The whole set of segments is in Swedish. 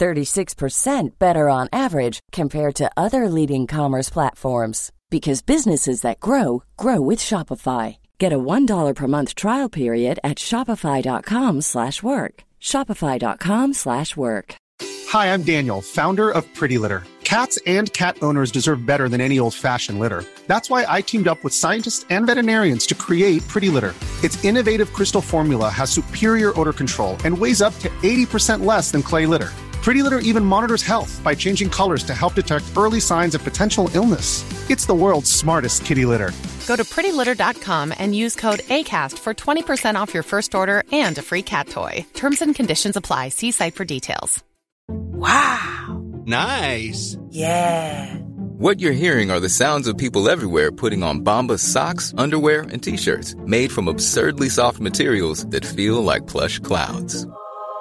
36% better on average compared to other leading commerce platforms because businesses that grow grow with Shopify. Get a $1 per month trial period at shopify.com/work. shopify.com/work. Hi, I'm Daniel, founder of Pretty Litter. Cats and cat owners deserve better than any old-fashioned litter. That's why I teamed up with scientists and veterinarians to create Pretty Litter. Its innovative crystal formula has superior odor control and weighs up to 80% less than clay litter. Pretty Litter even monitors health by changing colors to help detect early signs of potential illness. It's the world's smartest kitty litter. Go to prettylitter.com and use code ACAST for 20% off your first order and a free cat toy. Terms and conditions apply. See site for details. Wow. Nice. Yeah. What you're hearing are the sounds of people everywhere putting on Bombas socks, underwear, and t-shirts made from absurdly soft materials that feel like plush clouds.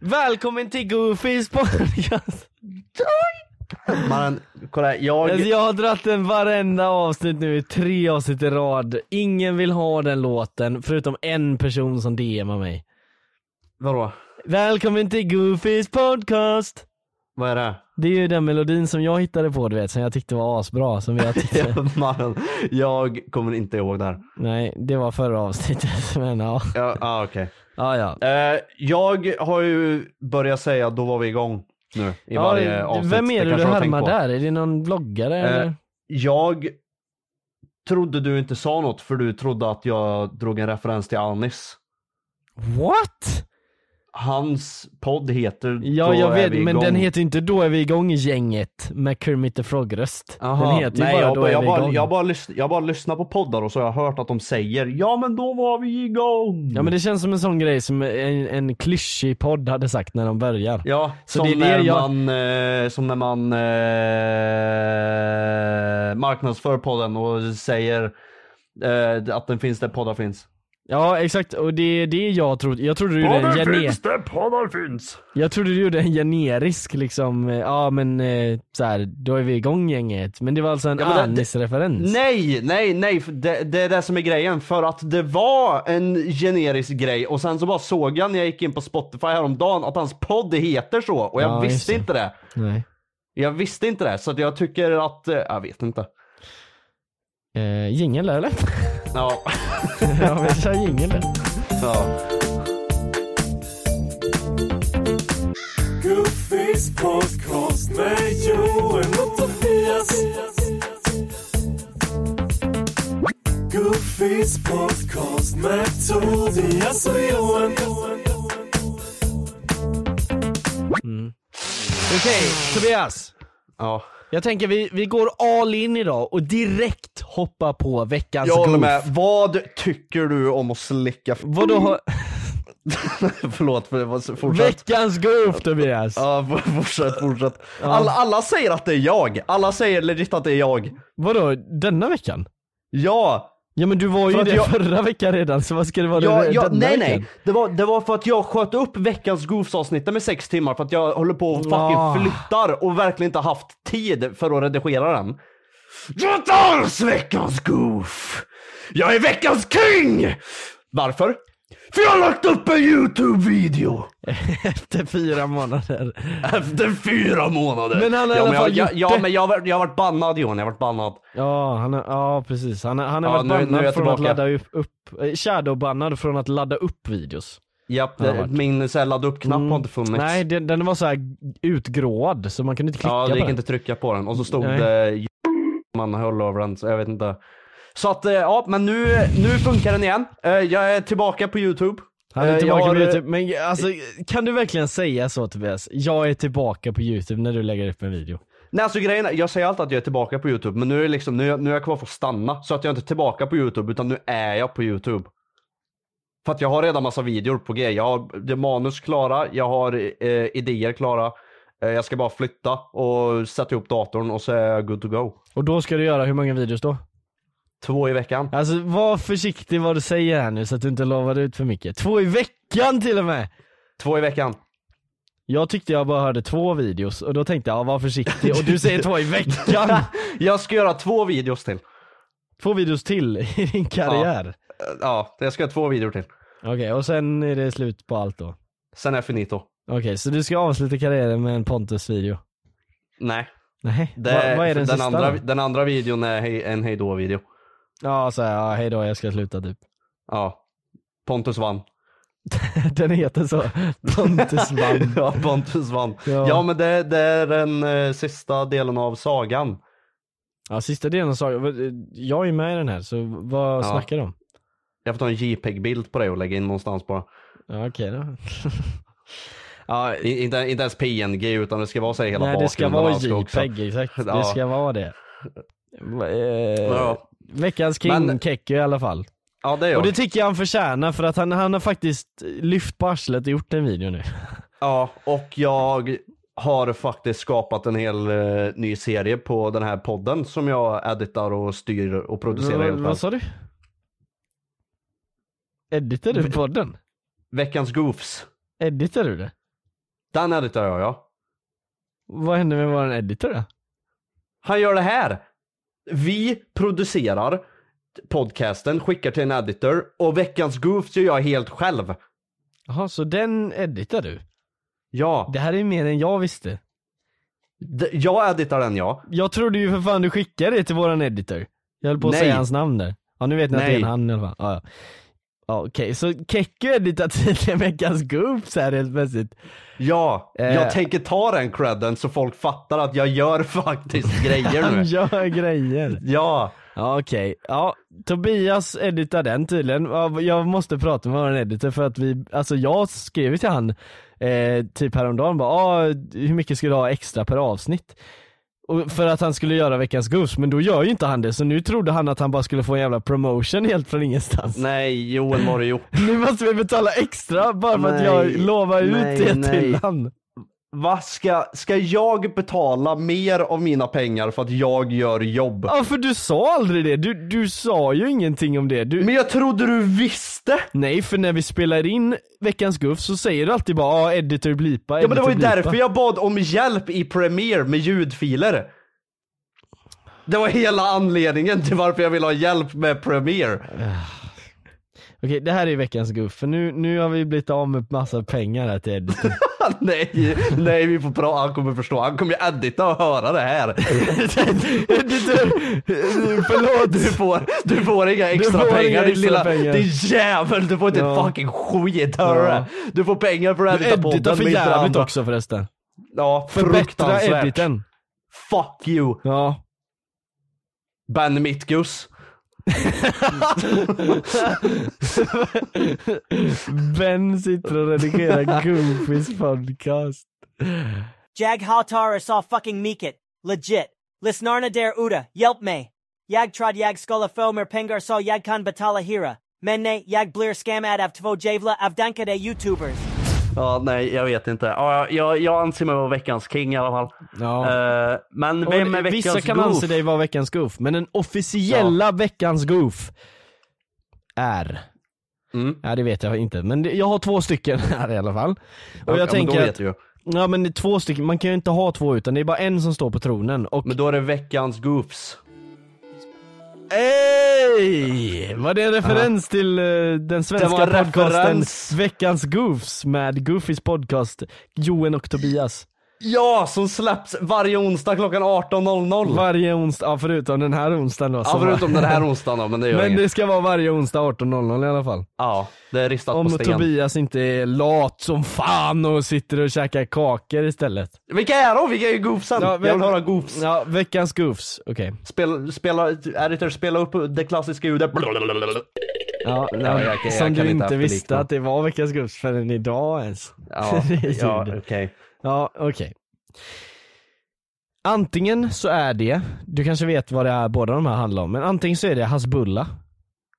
Välkommen till Goofys podcast. Man, kolla jag... Alltså jag har dratt den varenda avsnitt nu i tre avsnitt i rad. Ingen vill ha den låten förutom en person som DMar mig. Vadå? Välkommen till Goofys podcast. Vad är det? Det är ju den melodin som jag hittade på du vet, som jag tyckte var asbra. Som jag tyckte... Ja, mannen, jag kommer inte ihåg det här. Nej, det var förra avsnittet. Men ja. Ja, ah, okej. Ja, ja. Eh, jag har ju börjat säga då var vi igång nu i varje ja, avsnitt. vem är det du kanske har tänkt härmar på. där? Är det någon bloggare Eh, eller? Jag trodde du inte sa något för du trodde att jag drog en referens till Anis. What? Hans podd heter Ja Då jag är vet vi men igång. den heter ju inte Då är vi igång gänget med Kermit the Frog-röst. Den Aha, heter ju nej, bara jag, Då bara- är jag, vi bara, igång. jag, bara lyssn, jag bara lyssnar på poddar och så har jag hört att de säger ja men då var vi igång. Ja men det känns som en sån grej som en, en klyschig podd hade sagt när de börjar. Ja, Så som, det är det när jag- man, eh, som när man eh, marknadsför podden och säger eh, att den finns där poddar finns. Ja, exakt och det är det jag trodde. Jag trodde du gjorde en gene... där poddar finns! Jag trodde du gjorde en generisk liksom, eh, ja men eh, så här, då är vi igång gänget. Men det var alltså en Ja, men det- Anis-referens. Nej, nej, nej. för Det, det är det som är grejen. För att det var en generisk grej och sen så bara såg jag när jag gick in på Spotify häromdagen att hans podd heter så och jag Ja, just visste det. inte det. Nej. Jag visste inte det så att jag tycker att, eh, jag vet inte. Eh, jingel eller? Ja. ja vi kör jingel där. ja. Goofys podcast med Joel och Tobias. Goofys podcast med Tobias och Johan. Okej, Tobias. ja. Jag tänker vi, vi går all in idag och direkt hoppar på veckans Jag håller goof. med. Mm. Vad tycker du om att slicka f- Vadå? har- Förlåt, för det var så- fortsätt. Veckans goof Tobias! Ja, f- fortsätt, fortsätt. Alla, alla säger att det är jag. Alla säger legit att det är jag. Vadå, denna veckan? Ja! Ja men du var ju För att det jag- förra veckan redan så vad ska det vara Ja, det- ja, denna nej veckan? nej, det var, det var för att jag sköt upp veckans Goofs-avsnitt med sex timmar för att jag håller på och fucking Ah. flyttar och verkligen inte haft tid för att redigera den. Jag tar veckans Goof! Jag är veckans king! Varför? För jag har lagt upp en YouTube-video! Efter fyra månader. Efter fyra månader! Men han har i ja, alla men jag, fall jag, gjort ja, det. men jag, har varit- jag har varit bannad Johan, jag har varit bannad. Ja, han har, ja precis. Han, har- han har Ja, varit nu- nu är bannad jag från att tillbaka. ladda upp, upp eh, shadowbannad från att ladda upp videos. Japp, har det- varit. Eh, Mm. min så här, ladda upp-knapp har inte funnits. Nej, den, den var så här utgråad så man kunde inte klicka ja, det på gick den. inte att trycka på den. Och så stod Nej. det man höll överens. Jag vet inte. Så att eh, ja, men nu, nu funkar den igen. Eh, Jag är tillbaka på Youtube. Han är Eh, jag tillbaka har, på eh, youtube, men alltså kan du verkligen säga så Tobias? Jag är tillbaka på youtube när du lägger upp en video. Nej alltså grejen är, jag säger alltid att jag är tillbaka på Youtube men nu är, det liksom, nu, är jag- nu är jag kvar för att stanna. Så att jag inte är tillbaka på Youtube utan nu är jag på Youtube. För att jag har redan massa videor på G. Jag har det är manus klara, jag har eh, idéer klara. Eh, jag ska bara flytta och sätta ihop datorn och så är jag good to go. Och då ska du göra hur många videos då? Två i veckan. Alltså var försiktig vad du säger här nu så att du inte lovar ut för mycket. Två i veckan till och med! Två i veckan. Jag tyckte jag bara hörde två videos och då tänkte jag ja, var försiktig och du säger två i veckan! jag ska göra två videos till. Två videos till i din karriär. Eh, Ja, jag ska göra två videor till. Okej och sen är det slut på allt då. Sen är jag finito. Okej så du ska avsluta karriären med en Pontus video? Nej. Nej, Det, vad, vad är den, den, sista andra, då? den andra videon är hej, en hejdå-video. Ja såhär, ja, hejdå jag ska sluta typ. Ja. Pontus vann. Den heter så, Pontus vann. ja, Pontus vann. Ja. Ja, men det, det är den eh, sista delen av sagan. Ja sista delen sa jag, jag är med i den här så vad Ja. snackar du om? Jag får ta en JPEG-bild på det och lägga in någonstans bara. Ja, okej då. ja, I, inte, inte ens PNG utan det ska vara så här hela nej det ska vara bakgrunden och allt ska också- JPEG, exakt. Ja. Det ska vara det. Va- Eh, Ja. Veckans king, Men- Kekke i alla fall. Ja, det är jag. Och det tycker jag han förtjänar för att han, han har faktiskt lyft på arslet och gjort en video nu. Ja, och jag har faktiskt skapat en hel eh, ny serie på den här podden som jag editar och styr och producerar Vad- helt själv. Vad sa du? Editar du podden? Veckans Goofs. Editar du det? Den editar jag ja. Vad händer med våran editor då? Han gör det här. Vi producerar podcasten, skickar till en editor och veckans goofs gör jag helt själv. Jaha, så den editar du? Ja, Det här är mer än jag visste. d- jag editar den ja. Jag trodde ju för fan du skickade det till våran editor. Jag höll på att Nej. säga hans namn där. Ja nu vet ni att det är Nej. en han i alla fall. Ja, ja. ja okej, så Kekko editar tydligen veckans goops här helt plötsligt. Ja, Eh. jag tänker ta den credden så folk fattar att jag gör faktiskt grejer Han nu. gör grejer. Ja, Ja okej, ja Tobias editar den tydligen. Ja, Jag måste prata med våran editor för att vi, alltså jag skrev ju till han eh, typ häromdagen bara ah, hur mycket ska du ha extra per avsnitt? Och för att han skulle göra veckans Goose, men då gör ju inte han det så nu trodde han att han bara skulle få en jävla promotion helt från ingenstans. nej Joel vad har du gjort? Nu måste vi betala extra bara för att Nej, jag lovar ut nej, det nej. till han. Vad ska, ska jag betala mer av mina pengar för att jag gör jobb? Ja för du sa aldrig det, du, du sa ju ingenting om det. Du, Men jag trodde du visste! Nej för när vi spelar in veckans guff så säger du alltid bara ah, editor blipa, Ja men det var ju editor, blipa." därför jag bad om hjälp i Premiere med ljudfiler. Det var hela anledningen till varför jag ville ha hjälp med Premiere. Okej det här är veckans guff, för nu, nu har vi blivit av med massa pengar här till editor. nej, nej vi får prata, han kommer förstå. Han kommer ju edita och höra det här. editor! Förlåt! Du får, du får inga extra får inga pengar din extra lilla, pengar. din jävel! Du får inte Ja. ett fucking skit, hörru! Ja. Du får pengar för att Du edita podden, editar för men inte det jävligt andra. också förresten. Ja, Förbättra fruktansvärt. editen. Fuck you, Ja. Ben Mitkus. Ben sitter och redigerar Goofys podcast. Jag Hatar saw fucking Meekit. Legit. Lisnarna der Uda. Yelp me. Yag trod yag skola fo mer pengar saw yag kan batala hira. Menne yag blir scam ad av tvo javla av danka de youtubers. Ja, nej, jag vet inte. Ja, jag, jag anser mig vara veckans king i alla fall. Ja. Eh, men Och vem är veckans Vissa kan goof? anse dig vara veckans goof, men den officiella veckans goof är... Mm. Ja det vet jag inte, men det- jag har två stycken här i alla fall. Och Ja, jag men då tänker vet att, du ju. ja men det är två stycken, man kan ju inte ha två utan det är bara en som står på tronen och... Men då är det veckans goofs. Ey! Var det en referens till eh, den Det var svenska en podcasten referens. Veckans Goofs med Goofys podcast Joen och Tobias? Ja, som släpps varje onsdag klockan 18.00. Varje onsdag, ja, förutom den här onsdagen då. Mm. Ja, som förutom var- den här onsdagen då, men det gör Men inget. det ska vara varje onsdag 18.00 i alla fall. Ja, det är ristat Om på sten. Tobias inte är lat som fan och sitter och käkar kakor istället. Vilka är de? Vilka är goofsen? Ja, Jag vem- vill höra goofs. Ja, veckans goofs. Okej. Spela, spela, editor, spela upp det klassiska ljudet. Ja, nej, jag kan- jag som kan du inte inte efterlikna. visste att det var veckans goofs förrän idag ens. Ja, Det är ja ljudet. okej. Ja, okej. Antingen så är det, du kanske vet vad det är båda de här handlar om, men antingen så är det Hasbulla.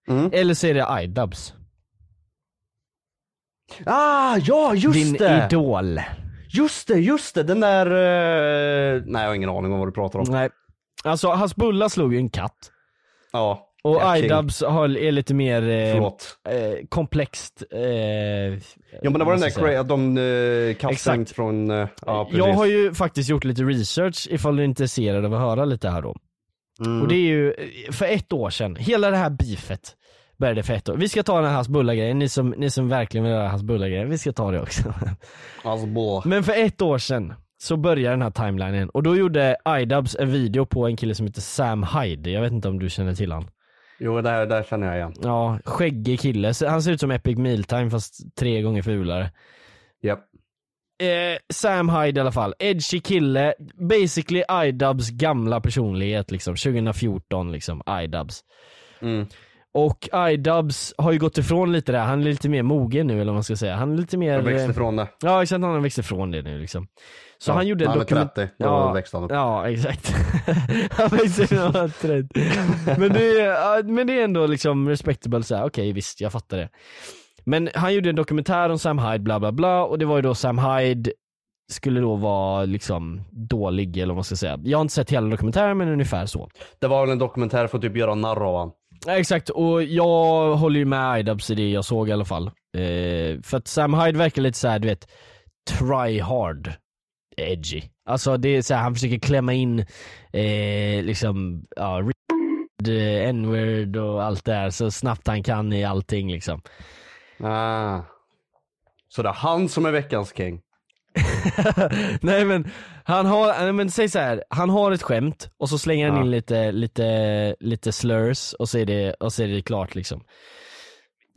Mm. Eller så är det Idubs. Ah, ja just Din det! idol. Just det, just det! Den där... eh, Nej jag har ingen aning om vad du pratar om. Nej. Alltså Hasbulla slog ju en katt. Ja. Och ja, king. Idubs har, är lite mer eh, Förlåt. eh, komplext. Eh, Ja men det var den där cra- de uh, katten Exakt. från... eh, ja precis. Jag har ju faktiskt gjort lite research ifall du är intresserad av att höra lite här då. Mm. Och det är ju eh, för ett år sedan, hela det här beefet började för ett år. Vi ska ta den här hans grejen ni som, ni som verkligen vill höra hans grejen vi ska ta det också. Alltså, bå. Men för ett år sedan så började den här timelinen och då gjorde iDubbbz en video på en kille som heter Sam Hyde, jag vet inte om du känner till han. Jo det här, det här känner jag igen. Ja, skäggig kille, Så han ser ut som Epic Mealtime fast tre gånger fulare. Japp. eh, Sam Hyde i alla fall, edgy kille, basically iDubs gamla personlighet liksom, 2014 liksom, iDubs. Mm. Och iDubs har ju gått ifrån lite det här, han är lite mer mogen nu eller vad man ska säga. Han är lite mer... Jag växte eh, ifrån det. Ja exakt, han har växt ifrån det nu liksom. Så Ja, han gjorde när en han var dokument... 30, då växte han upp. Ja exakt. han växte ifrån när han var 30. men, det är, ja, men det är ändå liksom respectable så här. okej visst jag fattar det. Men han gjorde en dokumentär om Sam Hyde bla bla bla och det var ju då Sam Hyde skulle då vara liksom dålig eller vad man ska säga. Jag har inte sett hela dokumentären men ungefär så. Det var väl en dokumentär för att typ göra narr av han. Ja, Exakt, och jag håller ju med Idubs i det jag såg i alla fall. Eh, för att Sam Hyde verkar lite såhär, du vet, try hard edgy. Alltså det är såhär, han försöker klämma in eh, liksom, ja, r- eh, n-word och allt det där så snabbt han kan i allting liksom. Ah. Så det är han som är veckans king. nej men, han har, nej, men säg så här, han har ett skämt och så slänger han Ja. in lite, lite, lite slurs och så, är det, och så är det klart liksom.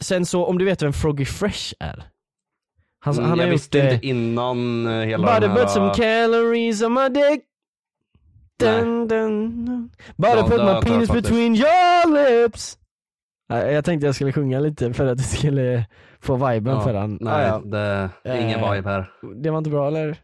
Sen så, om du vet vem Froggy Fresh är? Han, Mm, han har jag gjort visste eh, inte innan eh, hela Body den här... put some calories on my dick dun, dun, dun. Body Ja, put det har jag my inte hört penis faktiskt. between your lips Nej, Jag tänkte jag skulle sjunga lite för att det skulle få viben Ja, för han. Nej, Ah, det är ingen Eh. vibe här. ja. Det var inte bra eller?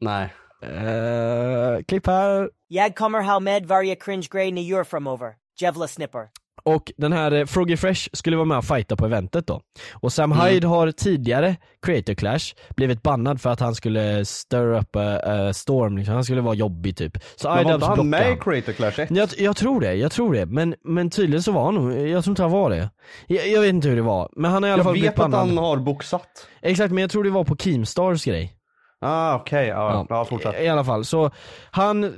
Nej. Uh, klipp här. Jag kommer ha med varje cringe grej ni gör framöver. Jävla snipper. Och den här eh, Froggy Fresh skulle vara med och fighta på eventet då. Och Sam Mm. Hyde har tidigare, Creator Clash, blivit bannad för att han skulle stir up a, a storm, liksom. han skulle vara jobbig typ. Så Men var Idubs inte han blockade med i han. Creator Clash 1? Jag, jag tror det, jag tror det. Men, men tydligen så var han nog, jag tror inte han var det. Jag, jag vet inte hur det var, men han har i alla Jag fall vet blivit att bannad. han har boxat. Exakt, men jag tror det var på Keemstars grej. Ah okej, ja. ja. fortsätt. I alla fall, så han eh,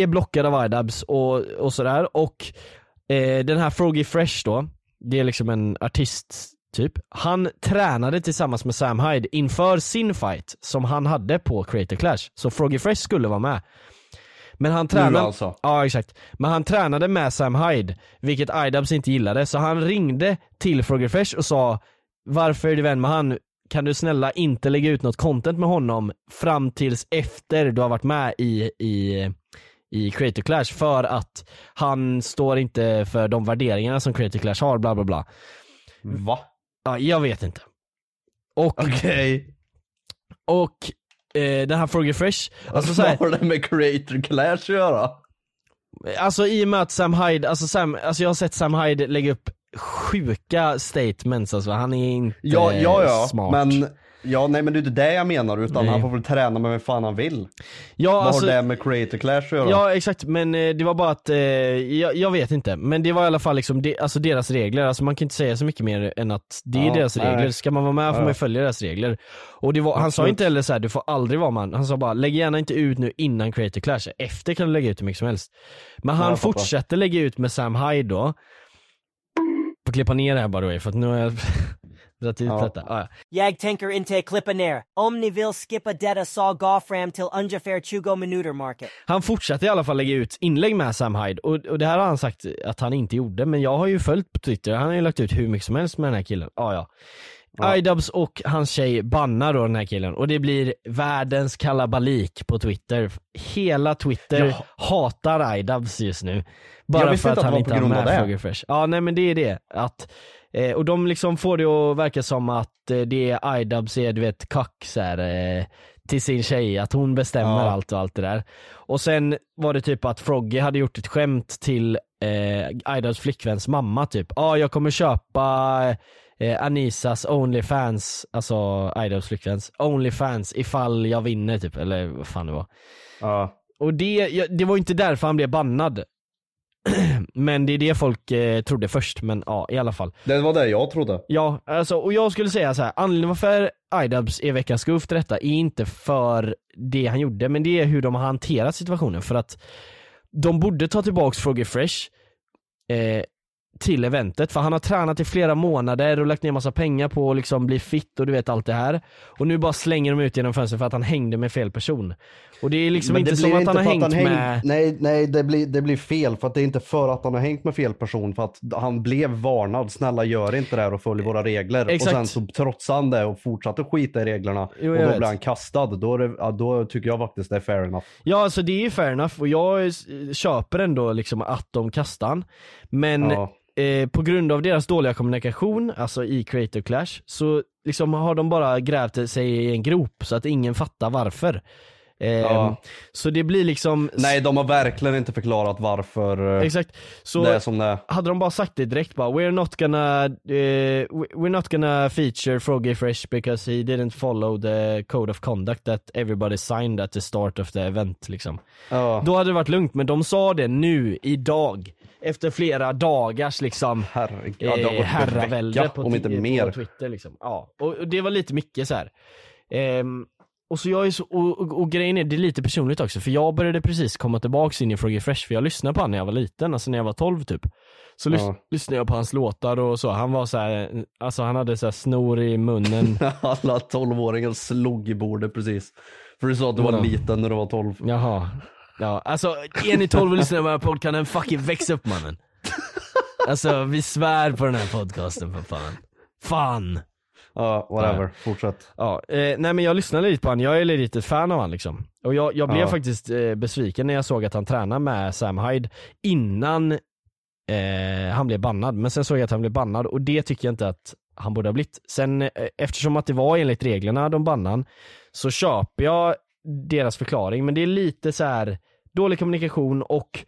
är blockad av Idubs och, och sådär och eh, den här Froggy Fresh då, det är liksom en artist typ. Han tränade tillsammans med Sam Hyde inför sin fight som han hade på Creator Clash. Så Froggy Fresh skulle vara med. Men han tränade... alltså? Ja exakt. Men han tränade med Sam Hyde, vilket Idubs inte gillade. Så han ringde till Frogger Fresh och sa Varför är du vän med han? Kan du snälla inte lägga ut något content med honom fram tills efter du har varit med i, i, i Creator Clash för att han står inte för de värderingarna som Creator Clash har bla bla bla. Mm. Va? Ja, jag vet inte. Och, Okej. och eh, den här Frogger Fresh, alltså så Vad här, har det med Creator Clash att göra? Alltså i och med att Sam Hyde, alltså, Sam, alltså jag har sett Sam Hyde lägga upp sjuka statements alltså, han är inte Ja, ja, ja. smart. Men, ja, nej men det är inte det jag menar utan Nej. han får väl träna med vem fan han vill. ja, Vad alltså, har det med Creator Clash att göra? Ja exakt, men eh, det var bara att, eh, jag, jag vet inte. Men det var i alla fall liksom de, alltså deras regler, alltså man kan inte säga så mycket mer än att det är Ja, deras nej. regler. Ska man vara med får man ju följa deras regler. Och det var, han sa Absolut. inte heller så här, du får aldrig vara man. Han sa bara, lägg gärna inte ut nu innan Creator Clash, efter kan du lägga ut hur mycket som helst. Men han jag fattar. fortsätter lägga ut med Sam Hyde då. Får klippa ner det här bara då för att nu har jag Dra ut Ja. detta. Ah, ja. Jag tänker inte klippa ner. Om ni vill skippa detta så gå fram till ungefär 20 minuter market. Han fortsatte i alla fall lägga ut inlägg med Sam Hyde och, och det här har han sagt att han inte gjorde men jag har ju följt på Twitter, han har ju lagt ut hur mycket som helst med den här killen. Ah, ja. Idubs och hans tjej bannar då den här killen och det blir världens kalabalik på Twitter. Hela Twitter Ja. hatar Idubs just nu. Jag Bara visste för att inte han att det var inte på har grund av det. med Frogger Fresh. Ja nej men det är det. Att, eh, och de liksom får det att verka som att eh, det är Idubs är du vet kack så här, eh, till sin tjej, att hon bestämmer Ja. allt och allt det där. Och sen var det typ att Froggy hade gjort ett skämt till eh, Idubs flickväns mamma typ. Ja ah, jag kommer köpa eh, Anisas Onlyfans, alltså Idubs flickväns Onlyfans ifall jag vinner typ, eller vad fan det var. Ja. Och det, ja, det var ju inte därför han blev bannad. men det är det folk eh, trodde först, men ja i alla fall. Det var det jag trodde. Ja, alltså, och jag skulle säga så här. anledningen varför Idubs är veckans goof till detta är inte för det han gjorde, men det är hur de har hanterat situationen för att de borde ta tillbaks Froggy Fresh eh, till eventet för han har tränat i flera månader och lagt ner massa pengar på att liksom bli fit och du vet allt det här. Och nu bara slänger de ut genom fönstret för att han hängde med fel person. Och det är liksom Men inte det som blir att han har för hängt häng- med Nej, nej det, blir, det blir fel. För att det är inte för att han har hängt med fel person. För att han blev varnad. Snälla gör inte det här och följ våra regler. Exakt. Och sen så trotsade han det och fortsatte skita i reglerna. Jo, och jag då vet. blev han kastad. Då, är det, ja, då tycker jag faktiskt det är fair enough. Ja alltså det är fair enough och jag eh, köper ändå liksom att de kastar han. Men Ja. eh, på grund av deras dåliga kommunikation, alltså i Creator Clash, så liksom har de bara grävt sig i en grop så att ingen fattar varför. Eh, Ja. Så det blir liksom Nej, de har verkligen inte förklarat varför eh, Exakt. Så det är som det är. hade de bara sagt det direkt bara we're not gonna, eh, we- we're not gonna feature Froggy Fresh because he didn't follow the code of conduct that everybody signed at the start of the event liksom. Ja. Då hade det varit lugnt, men de sa det nu, idag. Efter flera dagars liksom Herregud, ja, det har eh, gått en herravälde vecka, på, om inte ti- mer. på Twitter. Liksom. Ja. Och, och det var lite mycket så här. Ehm, och, så jag är så, och, och, och grejen är, det är lite personligt också, för jag började precis komma tillbaks in i Froggy Fresh, för jag lyssnade på han när jag var liten, alltså när jag var 12 typ. Så lys- Ja. lyssnade jag på hans låtar och så, han var så här, alltså han hade så här snor i munnen. Alla 12-åringar slog i bordet precis. För du sa att du var Mm. liten när du var 12. Jaha. Ja, alltså är ni 12 och lyssnar på den här podcasten, fucking väx upp mannen. Alltså vi svär på den här podcasten för fan. Fan! Ja, whatever. Fortsätt. Ja, eh, nej men jag lyssnade lite på han, jag är lite ett fan av han liksom. Och jag, jag blev Ja. faktiskt eh, besviken när jag såg att han tränade med Sam Hyde innan eh, han blev bannad. Men sen såg jag att han blev bannad och det tycker jag inte att han borde ha blivit. Sen eh, eftersom att det var enligt reglerna de bannan så köper jag deras förklaring men det är lite så här dålig kommunikation och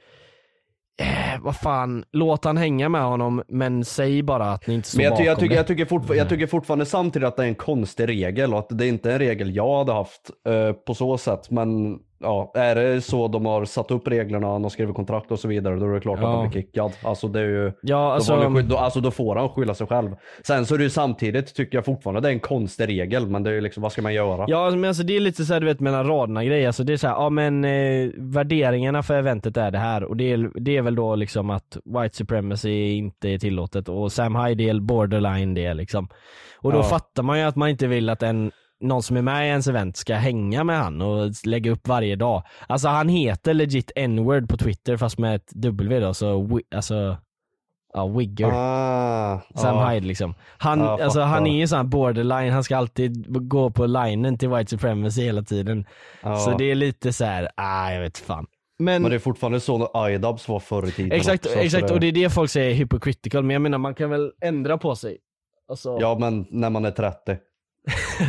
eh, vad fan, låt han hänga med honom men säg bara att ni inte står Men jag, ty- bakom jag, tycker, det. Mm. jag, tycker fortfar- jag tycker fortfarande samtidigt att det är en konstig regel och att det är inte är en regel jag hade haft eh, på så sätt. Men ja, är det så de har satt upp reglerna, han har skrivit kontrakt och så vidare, då är det klart Ja. att han blir kickad. Alltså, det är ju, Ja, alltså- då, får han, ju sky- då, alltså, då får han skylla sig själv. Sen så är det ju samtidigt, tycker jag fortfarande, det är en konstig regel. Men det är ju liksom, vad ska man göra? Ja men alltså det är lite såhär du vet mellan raderna grejer, alltså det är såhär, ja men eh, värderingarna för eventet är det här och det är, det är väl då liksom att white supremacy inte är tillåtet och Sam Hyde är borderline det liksom. Och då Ja. fattar man ju att man inte vill att en någon som är med i ens event ska hänga med han och lägga upp varje dag. Alltså han heter legit n-word på Twitter fast med ett W då, så wi- alltså, ja wigger. Ah, Sam ja. Hyde liksom. Han, Ja, jag alltså, han fattar. är ju sån här borderline, han ska alltid gå på linen till white supremacy hela tiden. Ja. Så det är lite så här, ah jag vet fan. Men, Men det är fortfarande så Idubs var förr i tiden. exakt, också, så exakt det- och det är det folk säger är hypocritical, men jag menar man kan väl ändra på sig? Alltså, Ja men när man är 30.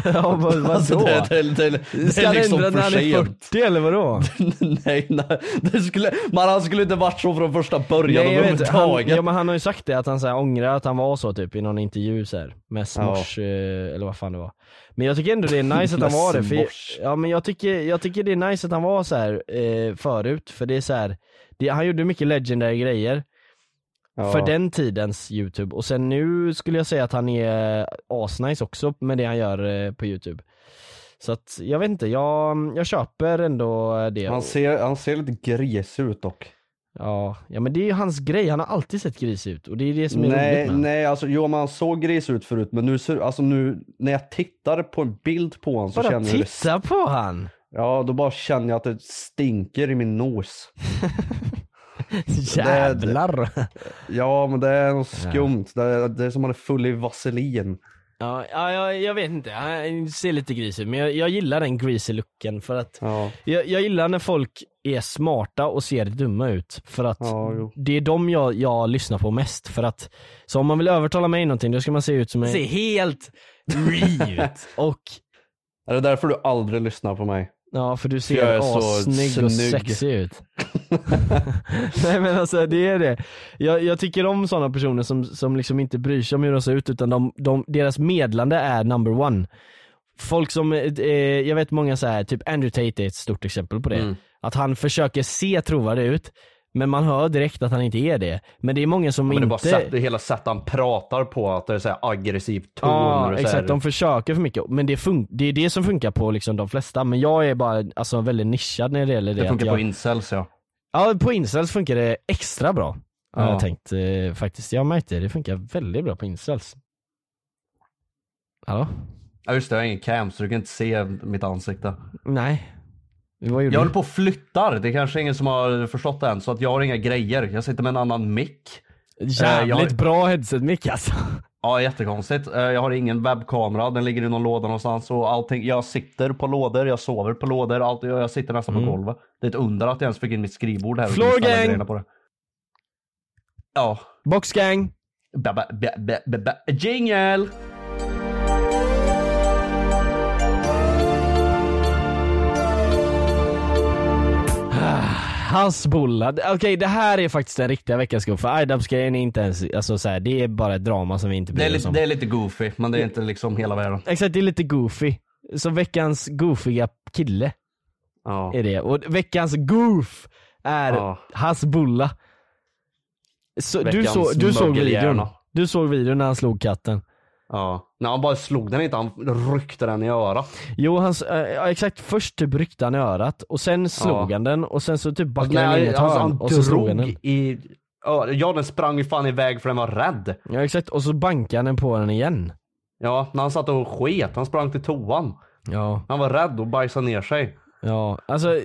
ja, vad, Alltså, vadå? det, det, det, det, det ska är han liksom ändra när för han är sent. 40 eller vadå? nej, nej. Det skulle, man, han skulle inte varit så från första början Nej, jag vet, han, överhuvudtaget. ja, men han har ju sagt det, att han så här, ångrar att han var så typ i någon intervju så här, med Smosh, eh, eller vad fan det var. Men jag tycker ändå det är nice att han Med var det, för Smosh. ja, men jag, tycker, jag tycker det är nice att han var så här eh, förut, för det är så här, det, han gjorde mycket legendary grejer Ja. för den tidens youtube, och sen nu skulle jag säga att han är asnice också med det han gör eh, på youtube. Så att, jag vet inte, jag, jag köper ändå det. han, ser, han ser lite grisig ut dock. Ja, ja men det är ju hans grej, han har alltid sett grisig ut och det är det som är roligt Nej, med nej, alltså jo men han såg gris ut förut men nu, ser- alltså nu när jag tittar på en bild på honom så Bara känner jag det titta på han! Ja, då bara känner jag att det stinker i min nos. Jävlar! Ja, men det är något skumt. Det är, det är som att man är full i vaselin. Ja, ja jag, jag vet inte, han ser lite grisig ut men jag, jag gillar den greasy looken för att Ja, jag, jag gillar när folk är smarta och ser dumma ut för att ja, jo. det är de jag, jag lyssnar på mest för att så om man vill övertala mig någonting då ska man se ut som en... Se helt re ut! och Är det därför du aldrig lyssnar på mig? Ja för du jag är ser så assnygg och snygg. sexig ut. Nej men alltså det är det. Jag, jag tycker om sådana personer som, som liksom inte bryr sig om hur de ser ut utan de, de, deras medlande är number one. Folk som, eh, jag vet många så här, typ Andrew Tate är ett stort exempel på det. Mm. Att han försöker se trovärdig ut men man hör direkt att han inte är det. Men det är många som Men det är bara inte... sätt, det hela sättet han pratar på, att det är så här aggressiv ton. Ja och så här- exakt, de försöker för mycket. Men det, fun- det är det som funkar på liksom de flesta. Men jag är bara alltså, väldigt nischad när det gäller det. det att funkar jag... på incels ja. Ja, på incels funkar det extra bra. Har Ja. jag tänkt eh, faktiskt. Jag märkte det, det funkar väldigt bra på incels. Hallå? Ja just det, jag har ingen cam så du kan inte se mitt ansikte. Nej. Vad gjorde Jag jag håller på och flyttar, det är kanske ingen som har förstått det än. Så att jag har inga grejer. Jag sitter med en annan mick. du? Jävligt Eh, jag- bra headset mick alltså. Ja, jättekonstigt. Eh, Jag har ingen webbkamera, den ligger i någon låda någonstans och allting. Jag sitter på lådor, jag sover på lådor, allt, jag jag sitter nästan på golvet. Det är ett under att jag ens fick in mitt skrivbord här. och Floor ställa gang! grejerna På det. Ja. Boxgang! Ba, ba, ba, ba, ba, ba. Jingle! Hasbulla. Okej det här är faktiskt den riktiga veckans skuffa. Idubs-grejen är inte ens, alltså så här, det är bara ett drama som vi inte Det är, bryr oss lite, om. det är lite goofy, men det är inte liksom hela världen. Exakt, det är lite goofy. Så veckans goofiga kille Ja. är det. Och veckans goof är Ja. Hasbulla. Så, du, Veckans så, du såg mögelhjärna. videon? Du såg videon när han slog katten? ja. Nej, han bara slog den inte, han ryckte den i örat. Jo, han, s- eh, ja, exakt. Först typ ryckte han i örat och sen slog han den och sen så typ backade han in i Nej, ett alltså, hörn han och så slog han drog den. i... Ja, Ja, den sprang ju fan iväg för den var rädd. Ja exakt, och så bankade han den på den igen. Ja, när han satt och sket, han sprang till toan. Ja, Han var rädd och bajsade ner sig. ja. Alltså, eh,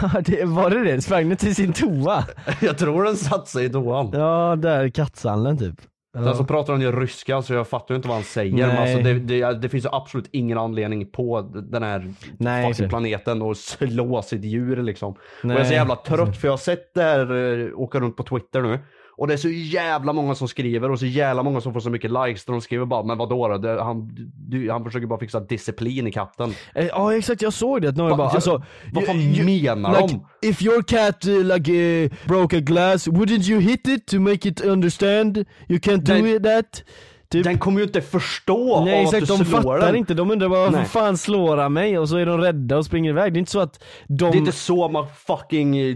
ja, det, var det det? Sprang den till sin toa? Jag tror den satt sig i toan. Ja, där kattsallen typ. Sen så pratar han ju ryska så jag fattar ju inte vad han säger. Men Nej. alltså, det, det, det finns ju absolut ingen anledning på den här Nej, fucking exakt. planeten och slå sitt djur liksom. Och jag är Nej, så jävla trött för jag har sett det här eh, åka runt på Twitter nu. Och det är så jävla många som skriver och så jävla många som får så mycket likes. Där de skriver bara men vadå då? Det, han, du, han försöker bara fixa disciplin i katten. Eh, Ja exakt, jag såg det att några Va- bara jag- alltså, vad ju- fan ju- menar like, de? If your cat uh, like uh, broke a glass, wouldn't you hit it to make it understand? You can't do Den- it that? Typ. Den kommer ju inte förstå Nej av exakt, att du de slår fattar den. inte. De undrar bara varför Nej. fan slår han mig? Och så är de rädda och springer iväg. Det är inte så att de... Det är inte så man fucking eh,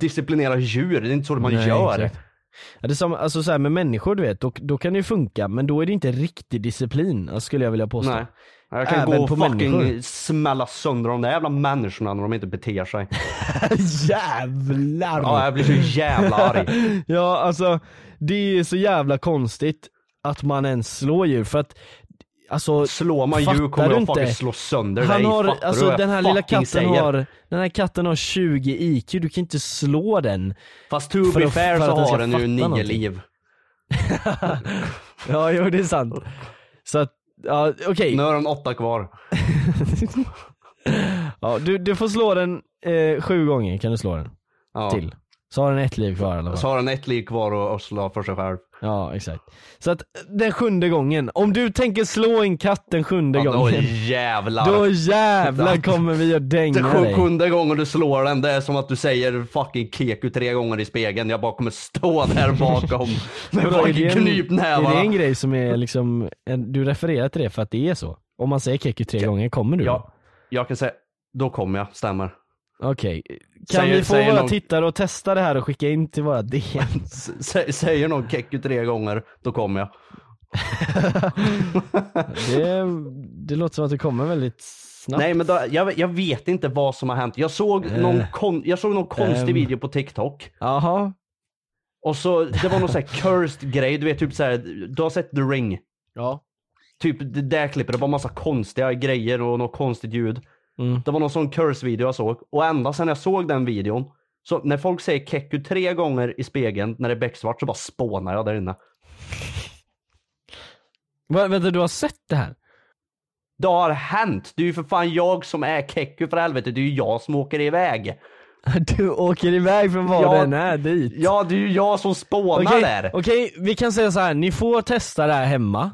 disciplinerar djur. Det är inte så man Nej, gör. exakt. Ja, det är samma, alltså så här med människor du vet, då, då kan det ju funka men då är det inte riktig disciplin alltså, skulle jag vilja påstå. Nej. Jag kan Även gå och på fucking människor. smälla sönder de där jävla människorna när de inte beter sig. Jävlar! Ja, jag blir så jävla arg. Ja, alltså det är så jävla konstigt att man ens slår djur för att Alltså, Slår man fattar djur kommer du jag inte? fucking slå sönder Han dig. har, Fattar du alltså vad jag den här lilla fucking katten säger? har, den här katten har 20 IQ, du kan inte slå den. Fast to för be att- fair för så att den ska har den ju fatta nio någonting. liv. Ja, jo det är sant. Så att, ja okej. Nu har den åtta kvar. Ja, du, du får slå den eh, sju gånger kan du slå den Ja. till. Så har den ett liv kvar i alla fall. Så har den ett liv kvar att- att slå för sig själv. Ja, exakt. Så att den sjunde gången, om du tänker slå en katt den sjunde Ja, då gången, jävlar. då jävlar kommer vi att Den dänga sju- dig. sjunde gången du slår den, det är som att du säger fucking keku tre gånger i spegeln. Jag bara kommer stå där bakom med Vadå, är det fucking en- Är det en knypnävarna. grej som är liksom, en, du refererar till det för att det är så? Om man säger keku tre gånger, kommer du? Ja, jag kan säga, då kommer jag, stämmer. Okej. Kan Säger- vi få säger våra någon- tittare att testa det här och skicka in till våra DM? S- sä- Säger någon keku tre gånger, då kommer jag. det, det låter som att det kommer väldigt snabbt. Nej men då, jag, jag vet inte vad som har hänt. Jag såg, någon, kon, jag såg någon konstig Ehm. video på TikTok. Jaha. Och så, det var någon sån här cursed grej, du vet typ såhär, du har sett The Ring? Ja. Typ det där klippet, det var massa konstiga grejer och något konstigt ljud. Mm. Det var någon sån curse-video jag såg. Och ända sen jag såg den videon, så när folk säger Keku tre gånger i spegeln när det är becksvart så bara spånar jag där inne. Va, vänta, du har sett det här? Det har hänt! Det är ju för fan jag som är Keku för helvete, det är ju jag som åker iväg. Du åker iväg från var Ja. den är dit. Ja, det är ju jag som spånar Okej, där. okej, vi kan säga så här. ni får testa det här hemma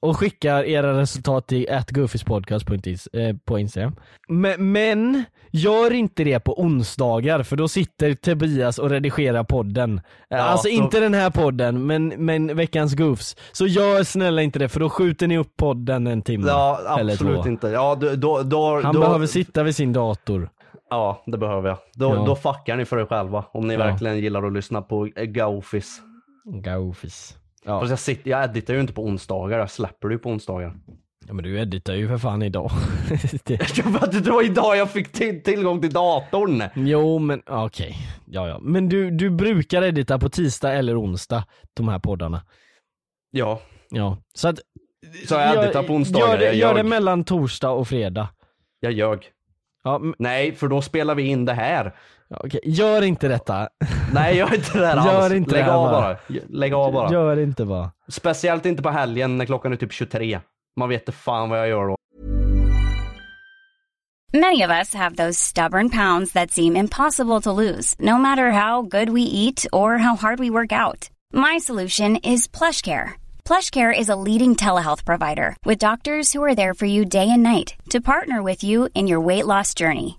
och skicka era resultat till atgoofispodcast på ins- eh, på Instagram. Men, men, gör inte det på onsdagar för då sitter Tobias och redigerar podden. Eh, alltså då- inte den här podden, men, men veckans goofs. Så gör snälla inte det för då skjuter ni upp podden en timme. Ja, eller absolut två. inte. Ja, då, då, då, Han då, behöver sitta vid sin dator. Ja, det behöver jag. Då, Ja. då fuckar ni för er själva om ni Ja. verkligen gillar att lyssna på eh, Gaufis. Goofis. Ja. Fast jag, sitter, jag editar ju inte på onsdagar, jag släpper det ju på onsdagar. ja men du editar ju för fan idag. det... Jag vet inte, det var idag jag fick till, tillgång till datorn! Jo men ja, okej, ja ja. Men du, du brukar edita på tisdag eller onsdag, de här poddarna. Ja, Ja, så att... Så jag gör- editar på onsdagar, Gör det, jag gör det ljög. mellan torsdag och fredag. jag ljög. Ja, m- Nej, för då spelar vi in det här. ja, okej. Gör inte detta. Nej, gör inte det här alls. Gör inte det Lägg här av bara. bara. Lägg av bara. Gör inte bara. Speciellt inte på helgen när klockan är typ 23. Man vet inte fan vad jag gör då. Many of us have those stubborn pounds that seem impossible to lose, no matter how good we eat or how hard we work out. My solution is PlushCare. PlushCare is a leading telehealth provider with doctors who are there for you day and night to partner with you in your weight loss journey.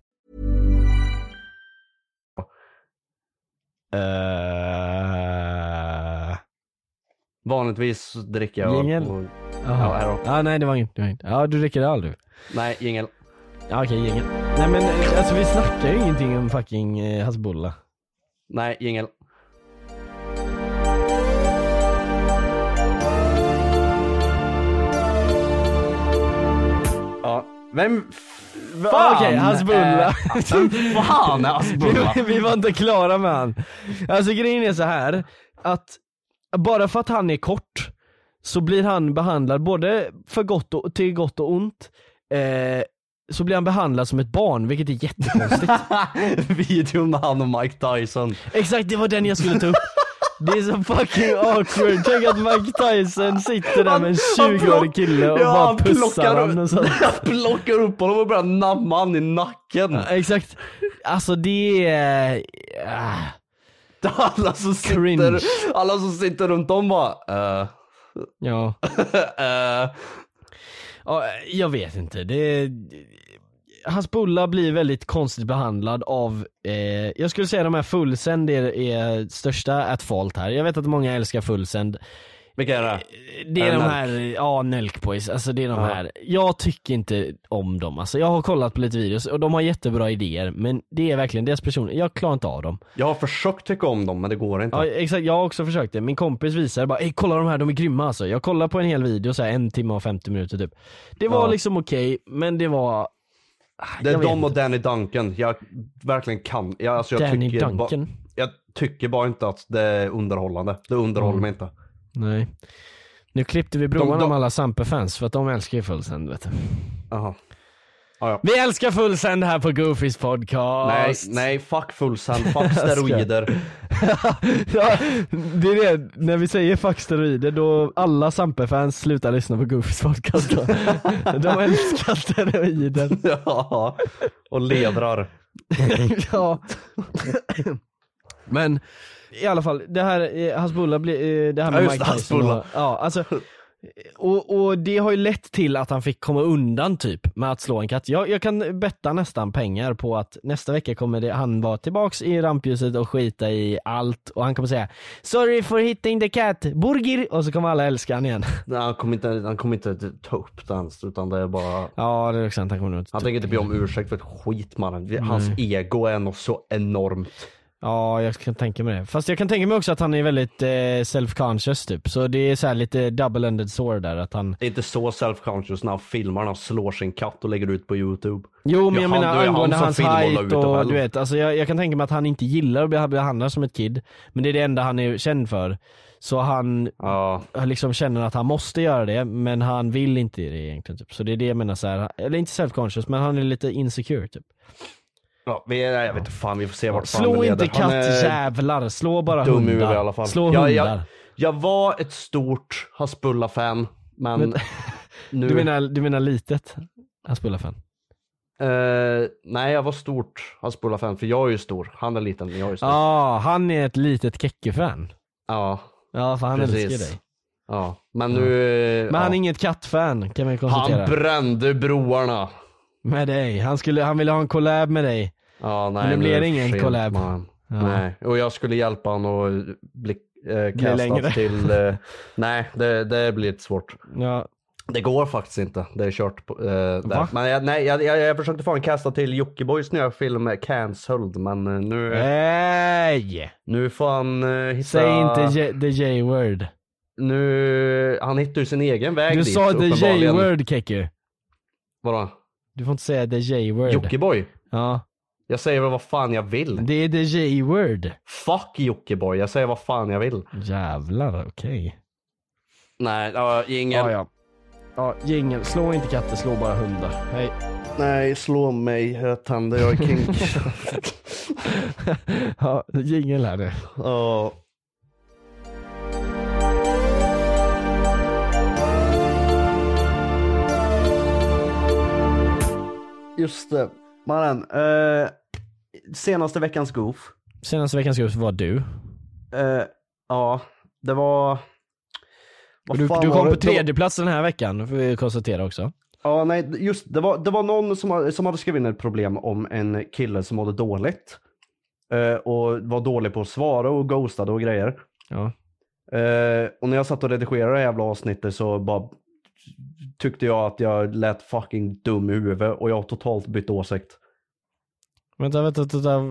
Eh, Uh... Vanligtvis dricker jag Jingel. öl. och- Ja, här då. ah, nej det var inget, det var inget. Ja du dricker öl du. Nej, jingel. Ja okej, gänget. Nej men eh, alltså vi snackar ju ingenting om fucking eh, Hasbulla. Nej, jingel. Ja, vem f- fan Okej, Hasbulla. är- Vem fan är Hasbulla? vi, vi var inte klara med han. Alltså grejen är så här att bara för att han är kort så blir han behandlad både för gott och, till gott och ont. Eh, så blir han behandlad som ett barn, vilket är jättekonstigt. Videon med han och Mike Tyson. Exakt, det var den jag skulle ta upp. Det är så fucking awkward, tänk att Mike Tyson sitter där med en Han- han 20-årig plock- kille och Ja, bara han pussar plockar honom och sånt. Han plockar upp honom och börjar namna han i nacken. Ja, Exakt, alltså det är... ah. Alla som, Cringe. sitter, alla som sitter runt om bara eh, Ja. eh. Ja, jag vet inte. Det... Hasbulla blir väldigt konstigt behandlad av, eh, jag skulle säga de här fullsänd är, är största at fault här. Jag vet att många älskar fullsänd. Vilka är det? Det är, de Är det Äh, Nelk? här, ja Nelk Boys, alltså det är de Ja. här. Jag tycker inte om dem alltså. Jag har kollat på lite videos och de har jättebra idéer men det är verkligen deras personer, jag klarar inte av dem. Jag har försökt tycka om dem men det går inte. Ja exakt, jag har också försökt det. Min kompis visade bara Ey, kolla de här, de är grymma alltså. Jag kollade på en hel video så här, en timme och 50 minuter typ. Det var Ja. liksom okej, men det var... Ah, det är jag vet dem och inte. Danny Duncan. Jag verkligen kan. Jag, alltså, jag Danny tycker Duncan? Ba, jag tycker bara inte att det är underhållande. Det underhåller Mm. mig inte. Nej. Nu klippte vi broarna de- med alla Sampe-fans för att de älskar ju Fullsend vet du. Aha. Ja, ja. Vi älskar fullsänd här på Goofys Nej, podcast. nej, fuck fullsand, fuck steroider. ja, det är det, när vi säger fuck steroider då alla Sampe-fans slutar lyssna på Goofys podcast då. De älskar steroider. ja, och levrar. ja. Men i alla fall, det här, eh, Hasbulla blir, eh, det här med Ja, just Mike det, Tyson Hasbulla. och, ja, alltså, och, och det har ju lett till att han fick komma undan typ med att slå en katt. Jag, jag kan betta nästan pengar på att nästa vecka kommer det, han vara tillbaks i rampljuset och skita i allt och han kommer säga Sorry for hitting the cat, burgir! Och så kommer alla älska han igen. Nej, han kommer inte, han kommer inte ta upp det ens, utan det är bara... Ja det är också sant, han kommer nog Han typ- tänker inte be om ursäkt för ett skit mannen. Hans ego är nog så enormt. Ja, jag kan tänka mig det. Fast jag kan tänka mig också att han är väldigt eh, self-conscious typ. Så det är så här lite double-ended sword där att han... Det är inte så self-conscious när han filmar när han slår sin katt och lägger ut på youtube. Jo men jag han- menar det är han angående som hans filmar och la height ut dem, och, eller? du vet, alltså jag, jag kan tänka mig att han inte gillar att bli behandlad som ett kid. Men det är det enda han är känd för. Så han Ja. liksom känner att han måste göra det, men han vill inte det egentligen typ. Så det är det jag menar så här, eller inte self-conscious, men han är lite insecure typ. ja vi, nej, jag vet inte fan, vi får se vart fan Slå det leder. inte Han är kattjävlar, slå bara Dum i hundar. huvudet i alla fall. Slå jag, hundar. jag, jag var ett stort Hasbulla-fan, men... Men- nu, Du, menar, du menar litet? Han spelar fan. eh, nej, jag var stort Hasbulla-fan, för jag är ju stor. Han är liten, men jag är stor. Ja, han är ett litet Kekke-fan. Ja, Ja, för han precis. älskar dig. Ja, men nu... Men han är inget kattfan kan man ju han konstatera. brände broarna. med dig. Han, skulle, han ville ha en collab med dig. Ja, nej, Men det nu blir är ingen för sent, collab. man. Ja. Nej, och jag skulle hjälpa honom att bli eh, castad längre. till... Eh, nej, det, det blir lite svårt. Ja. Det går faktiskt inte. Det är kört. På, Va? eh, där. Men jag, nej, jag, jag, jag försökte få en kasta till Jockibois nya film eh, Cancelled, men eh, nu, Nej! nu får han eh, hitta... Säg inte J- the J-word. Nu, han hittar ju sin egen väg Du dit sa the uppenbarligen. J-word Kekke. Vadå? Du får inte säga the J-word. Jockiboi? Ja. Jag säger väl vad fan jag vill. Det är the J-word. Fuck Jockiboi, jag säger vad fan jag vill. Jävlar, okej. Nej, ja, ingen. Ja, ja. Ja, jingel. Slå inte katter, slå bara hundar. Hej. Nej, slå mig, jag tänder, jag är kink. ja, jingel här nu. Ja. Just det. Mannen, eh, senaste veckans goof. Senaste veckans grupp var du. Eh, ja, det var... Vad Du, fan du var kom det? på Det var- tredje plats den här veckan, får vi konstatera också. Ja, nej, just det var, det var någon som, hade- som hade skrivit in ett problem om en kille som mådde dåligt. Eh, och var dålig på att svara och ghostade och grejer. Ja. Eh, och när jag satt och redigerade det här jävla avsnittet så bara tyckte jag att jag lät fucking dum i huvudet och jag har totalt bytt åsikt. Vänta, vänta, vänta,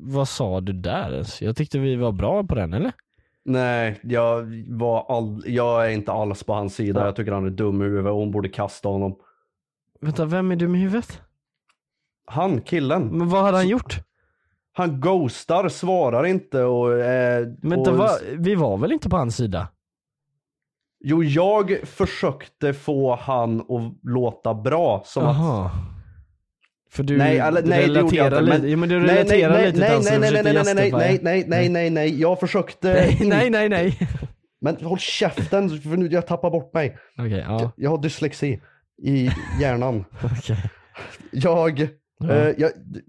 vad sa du där ens? Jag tyckte vi var bra på den eller? Nej, jag, var all, jag är inte alls på hans sida. Jag tycker han är dum i huvudet och hon borde kasta honom. Vänta, vem är dum i huvudet? Han, killen, Men vad hade han gjort? han ghostar, svarar inte och... Eh, Men det och var, vi var väl inte på hans sida? Jo, jag försökte få han att låta bra. Som att... Jaha. För du Nej, alla, nej det gjorde jag inte. relaterar lite, jo, men du relaterar nej, lite nej, till hans nej, nej, nej, försökte justifya. nej, nej, nej, nej, nej, nej, nej, jag försökte. nej, nej, nej. Men håll käften, för nu, jag tappar bort mig. Okej, ja, Jag har dyslexi i hjärnan. okej. Jag, Ja. eh, jag d-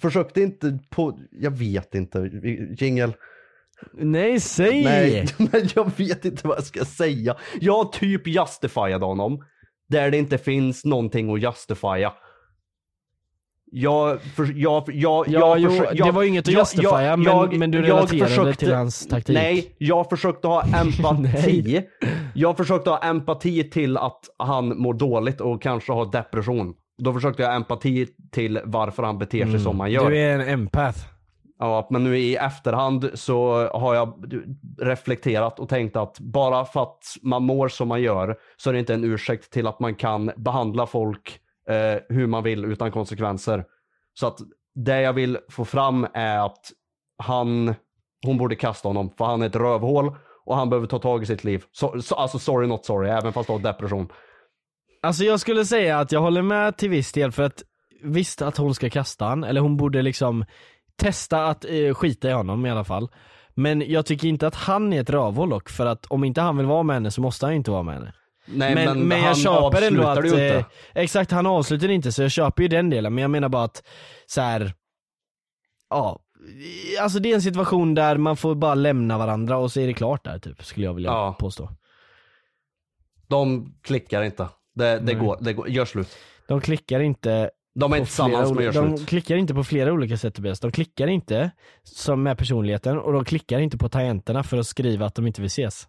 försökte inte på, jag vet inte, jingel. Nej, säg! Nej, men jag vet inte vad jag ska säga. Jag typ justifierade honom. Där det inte finns någonting att justifiera. Jag, för, jag, jag, Ja, jag, jo, försö- det var ju inget att justifiera, men- men du relaterade till hans taktik. Nej, jag försökte ha empati. jag försökte ha empati till att han mår dåligt och kanske har depression. Då försökte jag ha empati till varför han beter sig som han gör. Mm. Du är en empath. Ja, men nu i efterhand så har jag reflekterat och tänkt att bara för att man mår som man gör så är det inte en ursäkt till att man kan behandla folk eh, hur man vill utan konsekvenser. Så att det jag vill få fram är att han, hon borde kasta honom för han är ett rövhål och han behöver ta tag i sitt liv. Så, så, alltså sorry not sorry, även fast du har depression. Alltså jag skulle säga att jag håller med till viss del för att visst att hon ska kasta han, eller hon borde liksom testa att eh, skita i honom i alla fall. Men jag tycker inte att han är ett rövhål dock, för att om inte han vill vara med henne så måste han ju inte vara med henne. Nej men, han avslutar det ju inte. eh, Exakt, han avslutar det inte så jag köper ju den delen men jag menar bara att så här. Ja, alltså det är en situation där man får bara lämna varandra och så är det klart där typ skulle jag vilja Ja. påstå. De klickar inte. Det, det, går, det går, gör slut. De klickar inte De är på inte tillsammans flera men oli- gör De slut. klickar inte på flera olika sätt Tobias. De klickar inte som med personligheten och de klickar inte på tangenterna för att skriva att de inte vill ses.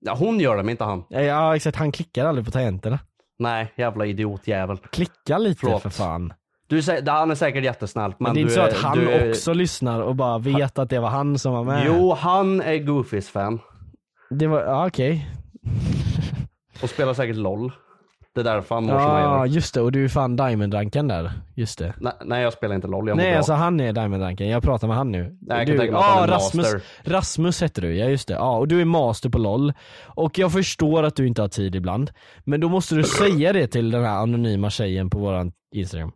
Ja, hon gör det men inte han. Ja, Ja exakt, han klickar aldrig på tangenterna. Nej, jävla idiotjävel. Klicka lite Förlåt. för fan. Men, Du, sä- han är säkert jättesnäll men, det är du inte så att han du är- också lyssnar och bara vet att det var han som var med. Jo, han är Goofys fan. Det var, ja okej. Och spelar säkert LOL. Det är därför han mår som han Ja gör. just det, och du är fan diamondranken där. Just det. Nej, Nej jag spelar inte LOL, jag mår Nej bra. alltså han är diamondranken, jag pratar med han nu. Nej, jag du, ah, kan tänka mig att han är Rasmus, master. Rasmus heter du, ja just det. Ja, och du är master på LOL. Och jag förstår att du inte har tid ibland. Men då måste du säga det till den här anonyma tjejen på våran Instagram.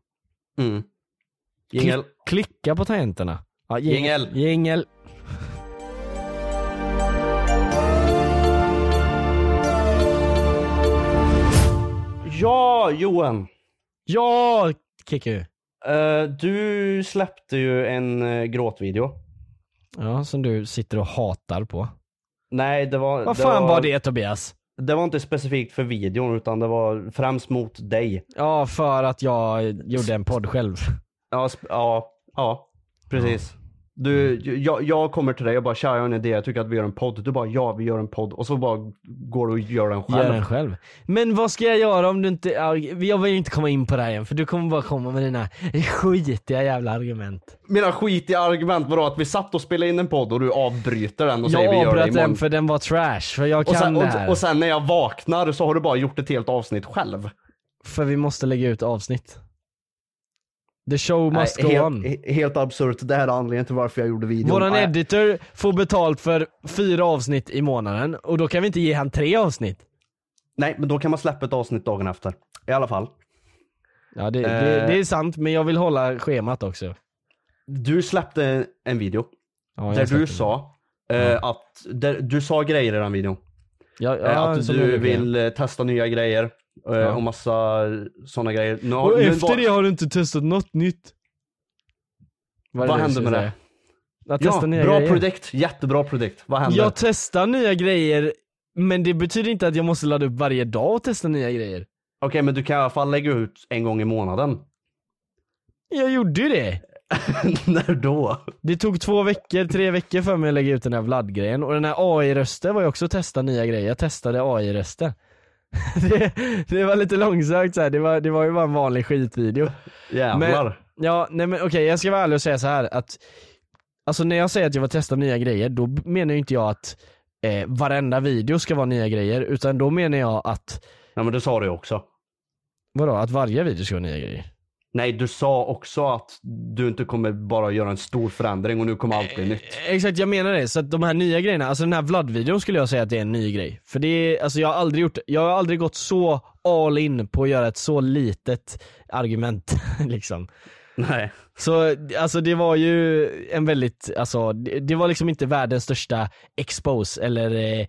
Mm. Klick- Jingel. Klicka på tangenterna. Ja, Jingel. Jingel. Ja, Johan. Ja, Kiku. Eh, du släppte ju en eh, gråtvideo. Ja, som du sitter och hatar på. Nej, det var... Vad fan var, var det Tobias? Det var inte specifikt för videon utan det var främst mot dig. Ja, för att jag gjorde en podd själv. Ja, sp- ja, ja precis. Du, jag, jag kommer till dig och bara tja, jag har en idé, jag tycker att vi gör en podd. Du bara ja, vi gör en podd. Och så bara går du och gör den själv. Gör den själv. Men vad ska jag göra om du inte, ja, jag vill inte komma in på det här igen för du kommer bara komma med dina skitiga jävla argument. Mina skitiga argument var att vi satt och spelade in en podd och du avbryter den och säger jag vi gör det avbröt imorgon. den för den var trash, för jag och, kan sen, det och, här. och sen när jag vaknar så har du bara gjort ett helt avsnitt själv. För vi måste lägga ut avsnitt. The show must Nej, go helt, on. he- helt absurt. Det här är anledningen till varför jag gjorde videon. Våran Nej, editor får betalt för fyra avsnitt i månaden och då kan vi inte ge han tre avsnitt. Nej, men då kan man släppa ett avsnitt dagen efter. I alla fall. Ja det, det, Eh, det är sant men jag vill hålla schemat också. Du släppte en video Ja, jag där släpper du det. sa eh, att... Där, du sa grejer i den videon. ja, ja, Eh, att som jag du brukar göra. vill eh, testa nya grejer. eh, Ja. Och massa sådana grejer. Nu, Och nu efter var- det har du inte testat något nytt. Vad hände med det? Att testa Ja, nya bra grejer. produkt. Jättebra produkt. Vad händer? Jag testar nya grejer, men det betyder inte att jag måste ladda upp varje dag och testa nya grejer. Okej, men du kan i alla fall lägga ut en gång i månaden. Jag gjorde ju det. När då? Det tog två veckor, tre veckor för mig att lägga ut den här Vlad-grejen och den här AI-rösten var ju också att testa nya grejer, jag testade AI-rösten. det, det var lite långsökt så här. Det, var, det var ju bara en vanlig skitvideo. Jävlar. Ja, nej men okej jag ska vara ärlig och säga så här att Alltså när jag säger att jag vill testa nya grejer, då b- menar ju inte jag att eh, varenda video ska vara nya grejer, utan då menar jag att, Nej, men det sa du också. vadå, att varje video ska vara nya grejer? Nej, du sa också att du inte kommer bara göra en stor förändring och nu kommer allt bli nytt. Exakt, jag menar det. Så att de här nya grejerna, alltså den här Vlad-videon skulle jag säga att det är en ny grej. För det är, alltså jag har aldrig gjort, jag har aldrig gått så all in på att göra ett så litet argument liksom. Nej. Så alltså det var ju en väldigt, alltså det, det var liksom inte världens största expose eller eh,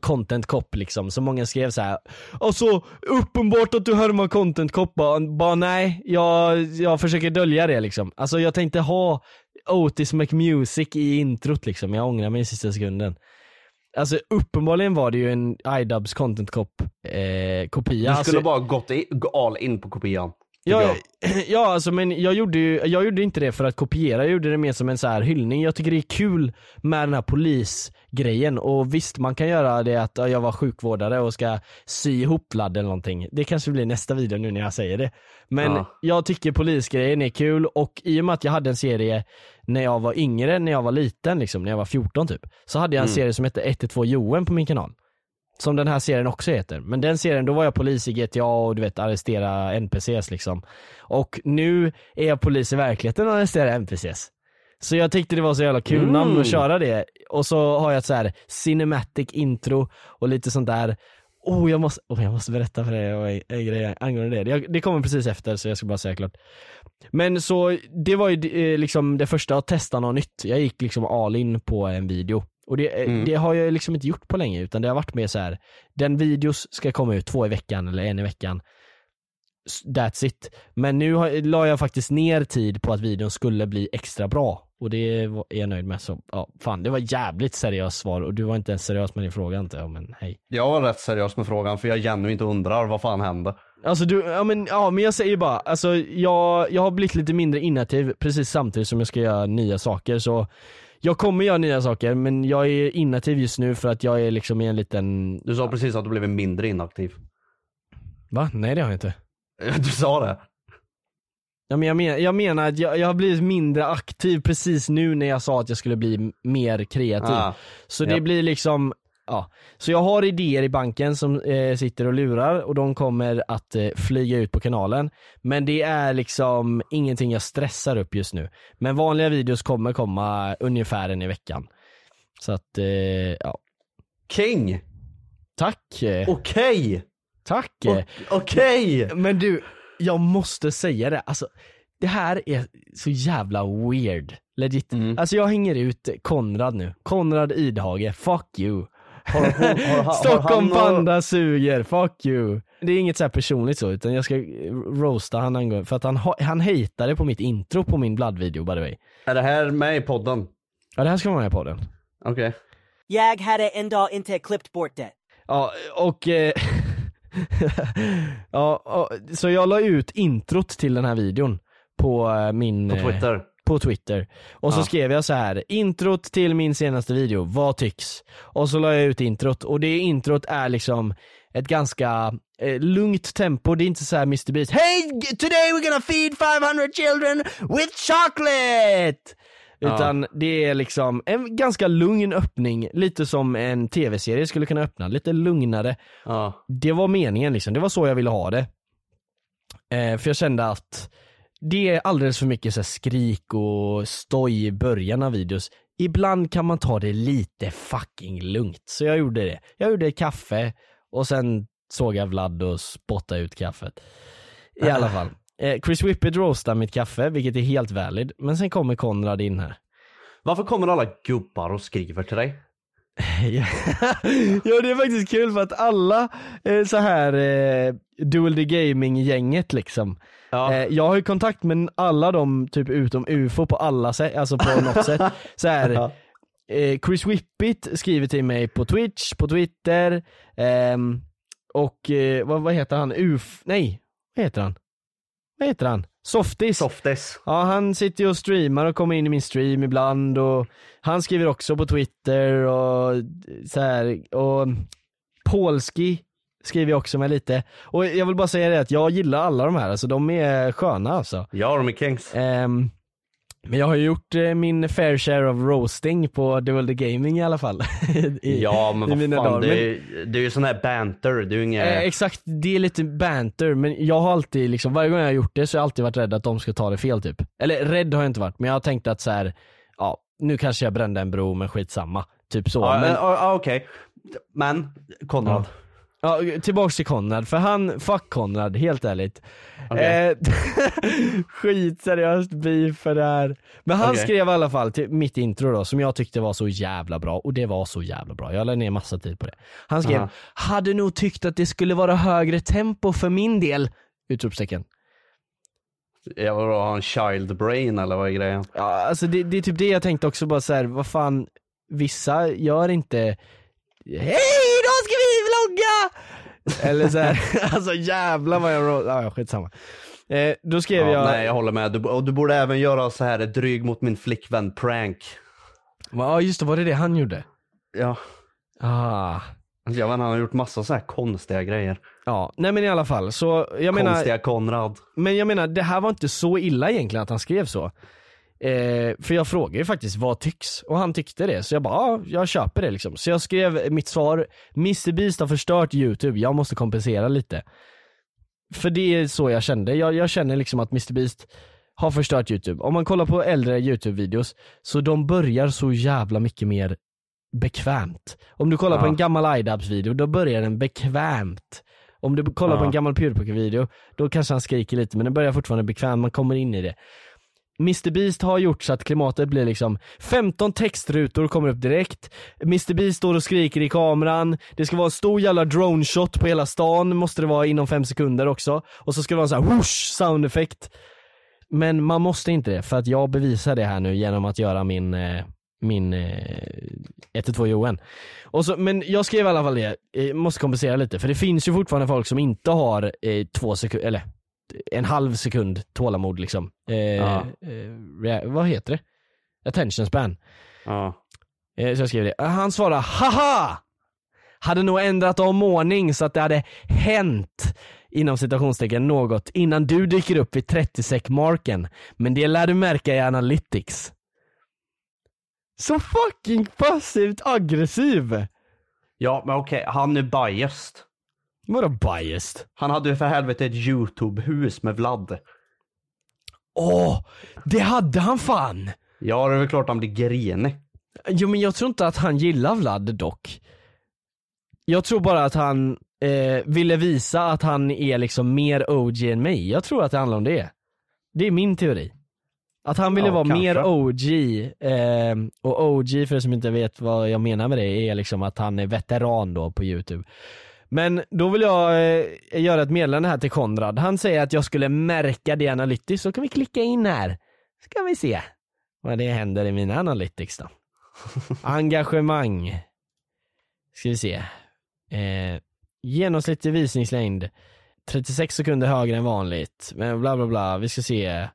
content cop liksom, så många skrev så här. Alltså uppenbart att du härmar content cop, bara, bara nej, jag, jag försöker dölja det liksom. Alltså jag tänkte ha Otis McMusic i introt liksom, jag ångrar mig i sista sekunden. Alltså uppenbarligen var det ju en iDubbbz content cop eh, kopia. Du Alltså- skulle bara gått i, gå all in på kopian. Ja, tycker ja alltså men jag gjorde ju, jag gjorde inte det för att kopiera, jag gjorde det mer som en så här hyllning. Jag tycker det är kul med den här polisgrejen och visst man kan göra det att ja, jag var sjukvårdare och ska sy ihop ladd eller någonting. Det kanske blir nästa video nu när jag säger det. Men Ja. jag tycker polisgrejen är kul och i och med att jag hade en serie när jag var yngre, när jag var liten liksom, när jag var 14 typ. Så hade jag en serie som hette 112 Joen på min kanal. Som den här serien också heter. Men den serien, då var jag polis i GTA och du vet arrestera NPCs liksom. Och nu är jag polis i verkligheten och arresterar NPCs. Så jag tyckte det var så jävla kul Mm. namn att köra det. Och så har jag ett så här cinematic intro och lite sånt där. Oh jag, måste, oh, jag måste berätta för dig och en- en grej angående det. Jag, det kommer precis efter så jag ska bara säga klart. Men så, det var ju eh, liksom det första att testa något nytt. Jag gick liksom all in på en video. Och det, eh, Mm. det har jag liksom inte gjort på länge utan det har varit mer så här. den videos ska komma ut två i veckan eller en i veckan. S- That's it. Men nu har, la jag faktiskt ner tid på att videon skulle bli extra bra. Och det var- är jag nöjd med. Så, ja, fan, det var jävligt seriöst svar och du var inte ens seriös med din fråga inte. Ja, men hej. Jag var rätt seriös med frågan för jag genuint inte undrar vad fan hände. Alltså du, ja men, ja, men jag säger bara, alltså jag, jag har blivit lite mindre inaktiv precis samtidigt som jag ska göra nya saker så jag kommer göra nya saker men jag är inaktiv just nu för att jag är liksom i en liten... Du sa precis att du blev mindre inaktiv. Va? Nej det har jag inte. Du sa det. Ja, men jag, men, jag menar att jag, jag har blivit mindre aktiv precis nu när jag sa att jag skulle bli m- mer kreativ. Ah, Så det ja. blir liksom, ja. Så jag har idéer i banken som eh, sitter och lurar och de kommer att eh, flyga ut på kanalen. Men det är liksom ingenting jag stressar upp just nu. Men vanliga videos kommer komma ungefär en i veckan. Så att, eh, ja. King! Tack! eh, Okej! Tack! eh. O- Okej! Men du, jag måste säga det. Alltså, det här är så jävla weird. Legit. Mm. Alltså jag hänger ut Konrad nu. Konrad Idhage, fuck you. Har hon- har- har- har Stockholm han och- Panda suger, fuck you. Det är inget så här personligt så, utan jag ska roasta han angående, för att han, ha- han hatade på mitt intro på min Blood-video by the way. Är det här med i podden? Ja det här ska vara med på den. Okej. Jag hade en dag inte klippt bort det. Ja, och... Eh, ja, och, så jag la ut introt till den här videon på eh, min... På eh, Twitter. på Twitter. Och så Ja. skrev jag så här, introt till min senaste video, vad tycks? Och så la jag ut introt och det introt är liksom ett ganska eh, lugnt tempo, det är inte så här Mr Beast, Hey! Today we're gonna feed 500 children with chocolate! Ja. Utan det är liksom en ganska lugn öppning, lite som en tv-serie skulle kunna öppna, lite lugnare. Ja. Det var meningen liksom, det var så jag ville ha det. Eh, för jag kände att det är alldeles för mycket så här skrik och stoj i början av videos. Ibland kan man ta det lite fucking lugnt. Så jag gjorde det. Jag gjorde kaffe och sen såg jag Vlad och spottade ut kaffet. I alla fall. Eh, Chris Whippet roastar mitt kaffe, vilket är helt valid. Men sen kommer Konrad in här. Varför kommer alla gubbar och skriver till dig? Ja. ja det är faktiskt kul för att alla eh, så här eh, Dual the Gaming gänget liksom Ja. eh, Jag har ju kontakt med alla dem typ utom UFO på alla sätt, alltså på något sätt så här, Ja. eh, Chris Whippit skriver till mig på Twitch, på Twitter ehm, och eh, vad, vad heter han? UF, nej vad heter han? Vad heter han? Softis Softis. Ja han sitter ju och streamar och kommer in i min stream ibland och han skriver också på Twitter och så här och Polski skriver jag också med lite. Och jag vill bara säga det att jag gillar alla de här, alltså de är sköna alltså. Ja, de är kings. Ehm, men jag har ju gjort eh, min fair share of roasting på Dual the Gaming i alla fall. I- Ja, men i mina vad fan. dagar. Det är, det är ju sån här banter. Det är ju inget... Eh, exakt, det är lite banter men jag har alltid liksom, varje gång jag har gjort det så har jag alltid varit rädd att de ska ta det fel typ. Eller rädd har jag inte varit men jag har tänkt att så här, ja nu kanske jag brände en bro men skitsamma. Typ så. ja, eh, men, men... ja, ja, Okej. Men, Konrad. Ja, tillbaks till Konrad, för han, fuck Konrad, helt ärligt. Okej. Eh, skitseriöst beef för det här. Men han Okej. skrev i alla fall till mitt intro då, som jag tyckte var så jävla bra, och det var så jävla bra. Jag la ner massa tid på det. Han skrev, Aha. hade nog tyckt att det skulle vara högre tempo för min del! Utropstecken. Jag vill ha en child brain eller vad är grejen? Ja, alltså det, det är typ det jag tänkte också bara så här, vad fan, vissa gör inte Hej, idag ska vi vlogga! Eller så här, alltså jävlar vad jag ro- ah, ja, skitsamma. Eh, då skrev Ja, jag, Nej, jag håller med. Du, och du borde även göra så här dryg mot min flickvän prank. ja just det, var det det han gjorde? Ja. alltså, Ah. Jag vet, han har gjort massa så här konstiga grejer. Ja, nej men i alla fall så, jag menar, konstiga Konrad. Men jag menar, det här var inte så illa egentligen att han skrev så. Eh, för jag frågade ju faktiskt vad tycks? Och han tyckte det, så jag bara ja, jag köper det liksom. Så jag skrev mitt svar, Mr Beast har förstört YouTube, jag måste kompensera lite. För det är så jag kände, jag, jag känner liksom att Mr Beast har förstört YouTube. Om man kollar på äldre YouTube-videos, så de börjar så jävla mycket mer bekvämt. Om du kollar på Ja. en gammal iDubbbz video, då börjar den bekvämt. Om du kollar på Ja. en gammal Pewdiepie video, då kanske han skriker lite men den börjar fortfarande bekvämt, man kommer in i det. Mr Beast har gjort så att klimatet blir liksom 15 textrutor kommer upp direkt Mr Beast står och skriker i kameran Det ska vara en stor jävla drone shot på hela stan måste det vara inom 5 sekunder också Och så ska det vara en sån här whoosh sound effect Men man måste inte det för att jag bevisar det här nu genom att göra min eh, min eh, 112 Johan. Och så, men jag skrev i alla fall det, eh, måste kompensera lite för det finns ju fortfarande folk som inte har eh, två sekunder, eller en halv sekund tålamod liksom. Eh, Ja. eh, rea- vad heter det? Attention span. Ja. Eh, så jag skrev det. Eh, Han svarade haha! Hade nog ändrat om ordning så att det hade hänt inom citationstecken något innan du dyker upp vid 30 sek marken. Men det lär du märka i analytics. Så fucking passivt aggressiv! Ja, men okej, han är biased. Vadå biased? Han hade ju för helvete ett YouTube-hus med Vlad. Åh, det hade han fan! Ja, det är väl klart han blir grinig. Jo men jag tror inte att han gillar Vlad dock. Jag tror bara att han eh, ville visa att han är liksom mer OG än mig. Jag tror att det handlar om det. Det är min teori. Att han ville Ja, vara kanske. mer OG, eh, och OG för er som inte vet vad jag menar med det är liksom att han är veteran då på youtube. Men då vill jag eh, göra ett meddelande här till Konrad. Han säger att jag skulle märka det analytiskt, så kan vi klicka in här. Så kan vi se vad det händer i mina analytics då. Engagemang. Ska vi se. Eh, genomsnittlig visningslängd. 36 sekunder högre än vanligt. Men bla bla bla, vi ska se.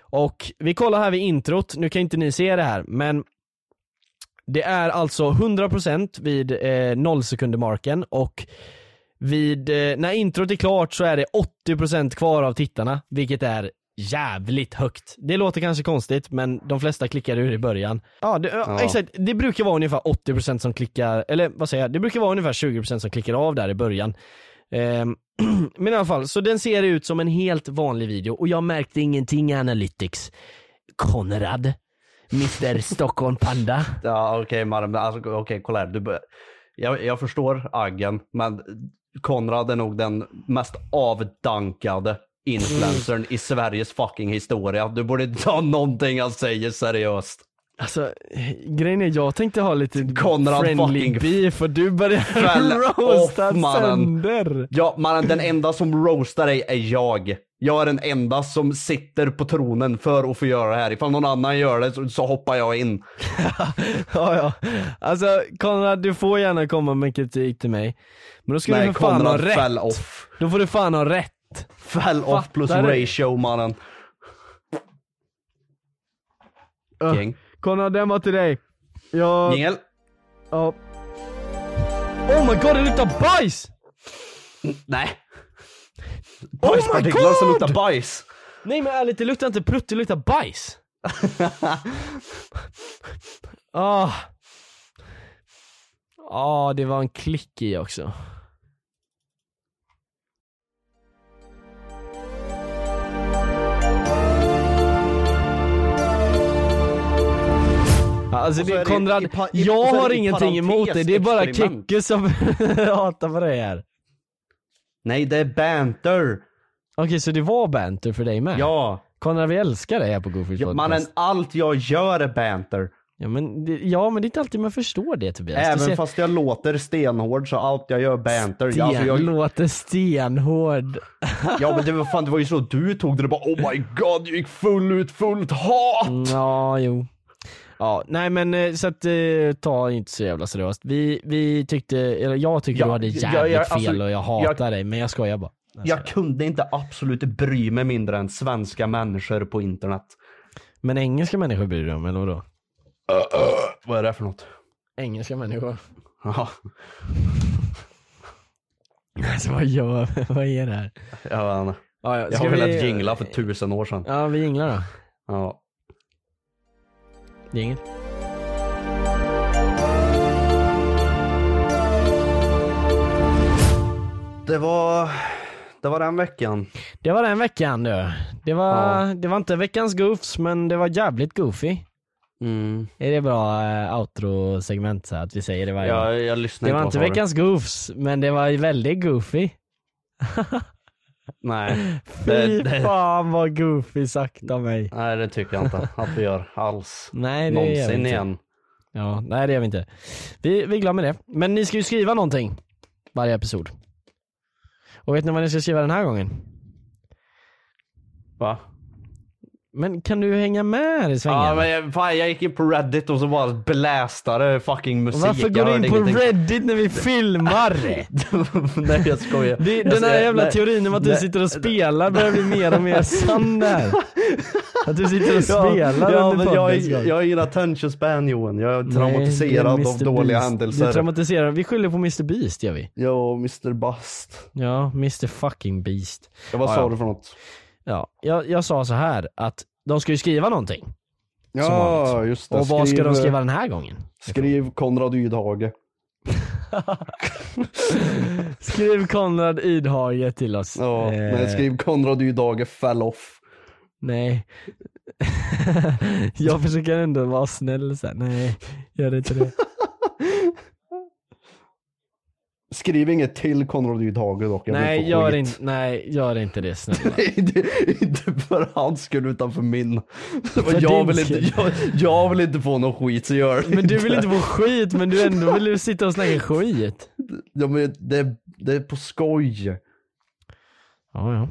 Och vi kollar här vid introt, nu kan inte ni se det här men det är alltså 100% vid eh, 0 sekunder marken och vid, eh, när introt är klart så är det 80% kvar av tittarna, vilket är jävligt högt. Det låter kanske konstigt men de flesta klickar ur i början. Ja, det, ja. Ja. exakt. Det brukar vara ungefär 80% som klickar, eller vad säger jag, det brukar vara ungefär 20% som klickar av där i början. Ehm, men i alla fall, så den ser ut som en helt vanlig video och jag märkte ingenting i Analytics. Konrad, Mr Stockholm Panda. Ja, okej Marm, men alltså, okej, kolla här. Du, bör- jag, jag förstår aggen, men Konrad är nog den mest avdankade influencern i Sveriges fucking historia. Du borde ta någonting han säger seriöst. Alltså grejen är jag tänkte ha lite Konrad friendly fucking beef och du fell börjar roasta off, mannen. sönder. Ja, mannen, den enda som roastar dig är jag. Jag är den enda som sitter på tronen för att få göra det här. Ifall någon annan gör det så, så hoppar jag in. Ja, ja. Alltså Konrad du får gärna komma med kritik till mig. Men då ska Nej, du för fan Konrad ha rätt. fell off. Då får du fan ha rätt. Fell off plus Fattar du? ratio mannen. Gäng. Konrad den var till dig. Jag, Jingel. ja. Oh my god det luktar bajs! Nej. my Bajspartiklar som Oh God! luktar bajs. Nej men ärligt, det luktar inte prutt, det luktar bajs. Ah. ah, det var en klick i också. Ja, Alltså Och så är det, det Konrad, i pa- i- jag så är det har i ingenting emot dig, det är bara parentes-experiment. Kicke som hatar på dig här. Nej det är banter. Okej så det var banter för dig med? Ja. Konrad vi älskar dig här på Goofy ja mannen allt jag gör är banter. Ja men, det, ja men det är inte alltid man förstår det Tobias. Även du ser, fast jag låter stenhård så allt jag gör är banter. Ja, alltså, Sten jag, låter stenhård. ja men det var, fan, det var ju så du tog det. Du bara oh my god du gick full ut, fullt hat. Mm, Ja, jo. Ja, nej men eh, så att eh, ta inte så jävla seriöst. Vi, vi tyckte, eller jag tycker Ja, du hade ja, jävligt ja, fel alltså, och jag hatar dig men jag skojar bara. Jag kunde inte absolut bry mig mindre än svenska människor på internet. Men engelska människor bryr du dig om eller vadå? Vad är det för något? Engelska människor? Ja, Alltså vad gör, vad är det här? jag vet inte. Ja, ja, Jag ska har velat vi- jingla för tusen år sedan. Ja vi jinglar då. Ja. Jingel. Det var, det var den veckan. Det var den veckan du. Det var, det var inte veckans goofs men det var jävligt goofy. Mm. Är det bra eh, outro-segment så här, att vi säger det varje gång? Jag, jag lyssnar Det var på inte vad du- veckans goofs, men det var väldigt goofy. Nej. Fy Det- det- fan vad goofy sagt av mig. Nej, det tycker jag inte att vi gör alls. Nej det gör vi Någonsin inte. igen. Ja, nej det gör vi inte. Vi, vi glömmer det. Men ni ska ju skriva någonting varje episod. Och vet ni vad ni ska skriva den här gången? Va? Men kan du hänga med här i svängarna? Ja, men jag, fan, jag gick in på Reddit och så bara blästade fucking musik. Varför går Jag du in hörde på ingenting. Reddit när vi filmar? Nej jag skojar. Det, jag den här skojar. jävla Alltså, eh, Nej. teorin om att du Nej. sitter och spelar börjar bli mer och mer sann där. Att du sitter och spelar ja, under men jag, poddens gång. jag har ingen attention span Johan. Jag är Nej, traumatiserad det är av Mr. dåliga Beast. Du är händelser. traumatiserad. Vi skyller på Mr Beast gör vi. ja, och Mr Bust. Ja, Mr fucking Beast. Ja, vad Ja, sa ja. du för något? Ja, jag, jag sa så här att de ska ju skriva någonting. Ja, vanligt. just det. eh, Och vad ska de skriva den här gången? Skriv Konrad Ydhage. Skriv Konrad Idhage till oss. Ja, Eh, men skriv Konrad Ydhage fell off. Nej. jag försöker ändå vara snäll sen. Nej, gör inte det. Skriv inget till Konrad Ydhage dock. Jag blir nej, på gör skit. inte, nej, gör inte det snälla. inte, inte för hans skull utan för min. För jag, din vill skull. inte, jag, jag vill inte få någon skit så gör det Men du vill inte få skit, men du ändå vill du sitta och snacka skit. ja, men det, det är på skoj. Ja, ja.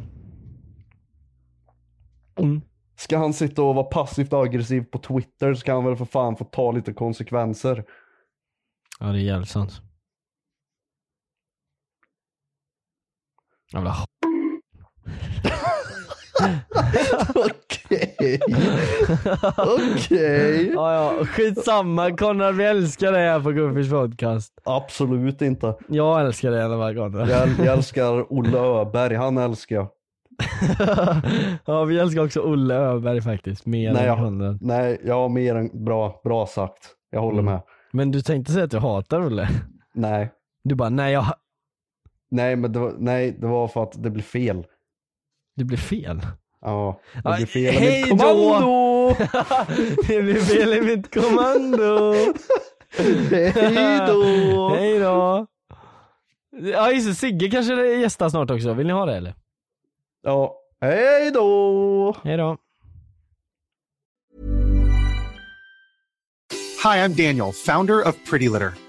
Ska han sitta och vara passivt aggressiv på Twitter så kan han väl för fan få ta lite konsekvenser. Ja det är jävligt sant. Jävla h- Okej. Okej. ja, ja, skitsamma Konrad vi älskar dig här på Guffis podcast. Absolut inte. Jag älskar dig i alla fall Konrad. Jag, jag älskar Olle Öberg, han älskar jag. ja vi älskar också Olle Öberg faktiskt, mer Nej, än jag, Konrad. nej, jag har mer än bra, bra sagt. Jag håller Mm. med. Men du tänkte säga att du hatar Olle? Nej. Du bara nej jag, ha- Nej, men det var, nej, det var för att det blev fel. det blev fel. Ja, det Ja, blev fel. i hej mitt då! kommando! det blev fel i mitt kommando. Hej då! Hej då. Ja just det, Sigge kanske gästar snart också, vill ni ha det eller? Ja, hej då! Hej då. Hi, I'm Daniel, founder of Pretty Litter.